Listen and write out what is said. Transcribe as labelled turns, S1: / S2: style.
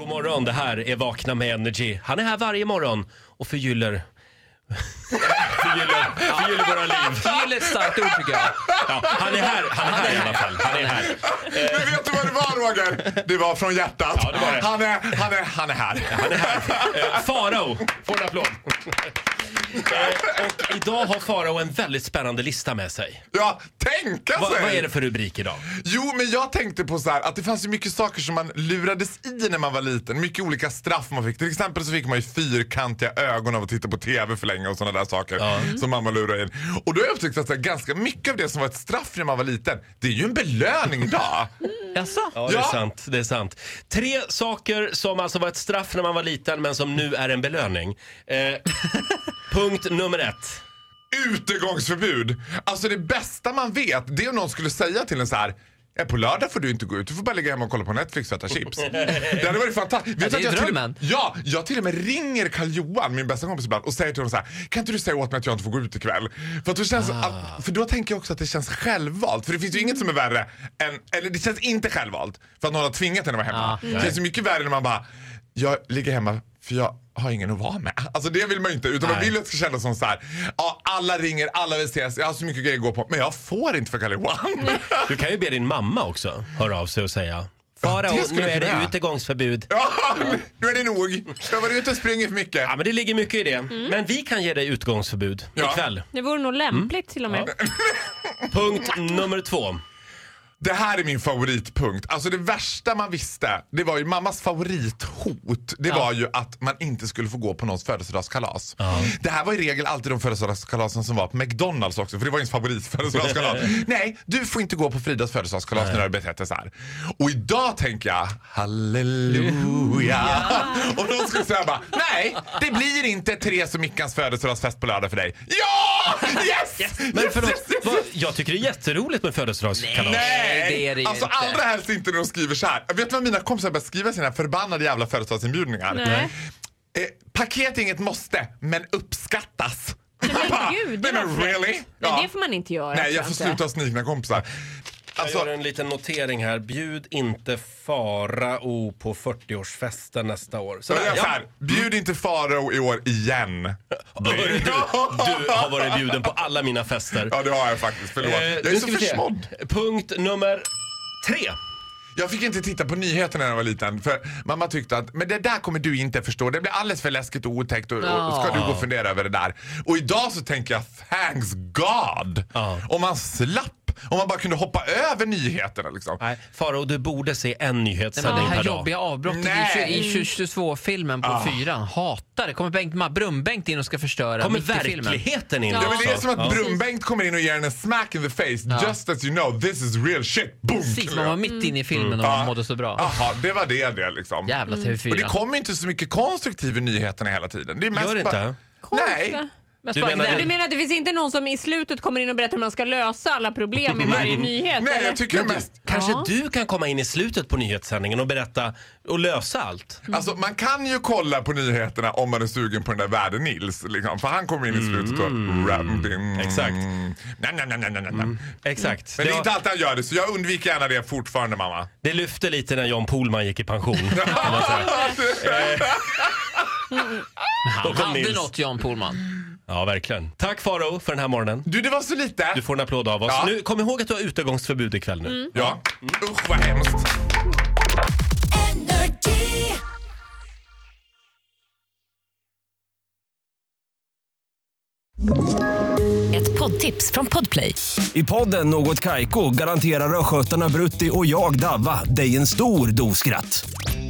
S1: morgon, det här är Vakna med Energy. Han är här varje morgon och förgyller... förgyller, förgyller våra liv.
S2: Förgyller ett starkt ord tycker jag.
S1: Ja, han är här, han är här i alla fall. Han är här.
S3: Men vet du vad det var Roger? Det var från hjärtat.
S1: Ja, det var det.
S3: Han, är, han, är, han är här.
S1: Han är här. Eh, Farao får en applåd. Eh, och idag har Farao en väldigt spännande lista med sig.
S3: Ja, tänka
S1: Va,
S3: sig!
S1: vad är det för rubrik idag?
S3: Jo, men jag tänkte på så här att det fanns ju mycket saker som man lurades i när man var liten. Mycket olika straff man fick. Till exempel så fick man ju fyrkantiga ögon av att titta på TV för länge och sådana där saker som mamma lurade in. Och då har jag upptäckt att så här, ganska mycket av det som var ett straff när man var liten, det är ju en belöning idag.
S2: Jaså?
S1: Ja, det är
S3: Ja.
S1: sant. Det är sant. Tre saker som alltså var ett straff när man var liten men som nu är en belöning. Eh, punkt nummer ett.
S3: Utegångsförbud! Alltså det bästa man vet, det är om någon skulle säga till en så här. "Ja, På lördag får du inte gå ut, du får bara ligga hemma och kolla på Netflix och äta chips. Det hade varit fantastiskt. Vet du
S2: det
S3: att
S2: är
S3: jag till-
S2: drömmen.
S3: Ja, jag till och med ringer Karl-Johan, min bästa kompis ibland, och säger till honom så här. Kan inte du säga åt mig att jag inte får gå ut ikväll? För, att då, känns, att, för då tänker jag också att det känns självvalt. För det finns ju inget som är värre än, eller det känns inte självvalt, för att någon har tvingat en att vara hemma.
S2: Ja.
S3: det känns ju mycket värre när man bara, jag ligger hemma för jag har ingen att vara med. Alltså det vill man ju inte. Utan man
S1: Nej.
S3: vill att det ska kännas som så här. Ja, alla ringer, alla vill ses, jag har så mycket grejer att gå på. Men jag får inte för Karl-Johan.
S1: Du kan ju be din mamma också höra av sig och säga.
S3: Ja,
S2: Farao,
S3: det skulle
S2: nu är
S3: jag
S2: det
S3: kunna.
S2: utegångsförbud.
S3: ja, nu är det nog. Jag var ute och springer för mycket.
S1: Ja, men det ligger mycket i det. Men vi kan ge dig utgångsförbud
S3: Mm. Ja.
S1: ikväll.
S4: Det vore
S3: Mm.
S4: nog lämpligt till och med.
S1: Punkt nummer två.
S3: Det här är min favoritpunkt. Alltså det värsta man visste, det var ju mammas favorithot. Det var ju att man inte skulle få gå på någons födelsedagskalas. Det här var i regel alltid de födelsedagskalasen som var på McDonalds också, för det var ens favoritfödelsedagskalas. Nej, du får inte gå på Fridas födelsedagskalas när du har betett dig så här. Och idag tänker jag, halleluja. Och någon skulle säga bara, nej, det blir inte Therese och Mickans födelsedagsfest på lördag för dig. Ja! Yes!
S1: Men
S3: Yes,
S1: förlåt,
S3: yes, yes,
S1: vad, jag tycker det är jätteroligt med födelsedagskalas.
S3: Nej,
S2: det är det ju
S3: alltså
S2: inte.
S3: allra helst inte när de skriver så här. Vet du vad mina kompisar börjar skriva i sina förbannade jävla födelsedagsinbjudningar?
S4: Nej.
S3: Eh, paket är inget måste, men uppskattas.
S4: Men
S3: Bara,
S4: gud, det
S3: Nej men
S4: var
S3: really?
S4: Men
S3: Ja.
S4: det får man inte göra.
S3: Nej, jag
S4: tror
S3: får
S4: inte.
S3: sluta ha snikna kompisar.
S1: Jag
S3: Alltså,
S1: gör en liten notering här. Bjud inte Farao på 40-årsfesten nästa år.
S3: så
S1: Sådär,
S3: jag
S1: ja.
S3: så här, bjud inte Farao i år igen.
S1: Hörru, Du, du har varit bjuden på alla mina fester.
S3: Ja, det har jag faktiskt. Förlåt.
S1: Eh,
S3: jag
S1: nu
S3: är
S1: ska
S3: så
S1: vi se.
S3: försmådd.
S1: Punkt nummer tre.
S3: Jag fick inte titta på nyheterna när jag var liten. För Mamma tyckte att men det där kommer du inte förstå. Det blir alldeles för läskigt och otäckt. Och, och ska du gå och fundera över det där? Och idag så tänker jag thanks God!
S1: Ja.
S3: Om man slapp. Om man bara kunde hoppa över nyheterna liksom.
S1: Nej, Farao, du borde se en
S2: Men det
S1: nyhetssändning
S2: här
S1: per dag.
S2: jobbiga avbrottet
S3: Nej. Ah.
S2: i 22-filmen på fyran. Hatar det. Kommer Bengt, Ma- Brumm-Bengt in och ska förstöra
S1: Kommer
S2: mitt i filmen?
S1: verkligheten in
S4: Ja.
S3: Ja, men
S1: också?
S3: det är som att
S1: Ja.
S3: Brunnbänkt kommer in och ger henne en smack in the face. Just as you know, this is real shit. Boom!
S2: Precis, man var mitt inne i filmen och man mådde så bra.
S3: Jaha, det var det det liksom.
S2: Jävla
S3: Mm. Ah. Och det
S2: TV4.
S3: kommer inte så mycket konstruktiv i nyheterna hela tiden. Det är mest
S1: Gör det
S3: bara-
S1: inte?
S3: Nej.
S4: Konstigt.
S2: Men
S1: Du
S2: Spark,
S1: menar-
S2: där-
S4: Du menar att det finns inte någon som i slutet kommer in och berättar hur man ska lösa alla problem i varje nyhet?
S3: Nej,
S4: eller?
S3: jag tycker mest...
S1: Kanske
S4: Ja.
S1: du kan komma in i slutet på nyhetssändningen och berätta och lösa allt.
S3: Alltså man kan ju kolla på nyheterna om man är sugen på den där världen Nils. Liksom, för han kommer in i slutet och... Mm.
S1: Exakt. Mm.
S3: Nej, nej, nej, nej, nej. nej.
S1: Exakt.
S3: Mm. Men det är inte
S1: det,
S3: alltid han gör det så jag undviker gärna det fortfarande mamma.
S1: det lyfte lite när John Pohlman gick i pension. kan man säga.
S2: Han
S1: kom
S2: hade
S1: Nils.
S2: något Jan Pohlman.
S1: Ja, verkligen. Tack Farao för den här morgonen.
S3: Du det var så lite.
S1: Du får en applåd av oss.
S3: Ja.
S1: Nu, kom ihåg att du har utegångsförbud ikväll nu.
S3: Ja.
S1: Mm.
S3: Usch vad hemskt.
S5: Ett poddtips från Podplay.
S6: I podden Något Kaiko garanterar östgötarna Brutti och jag, Davva, dig en stor dos skratt.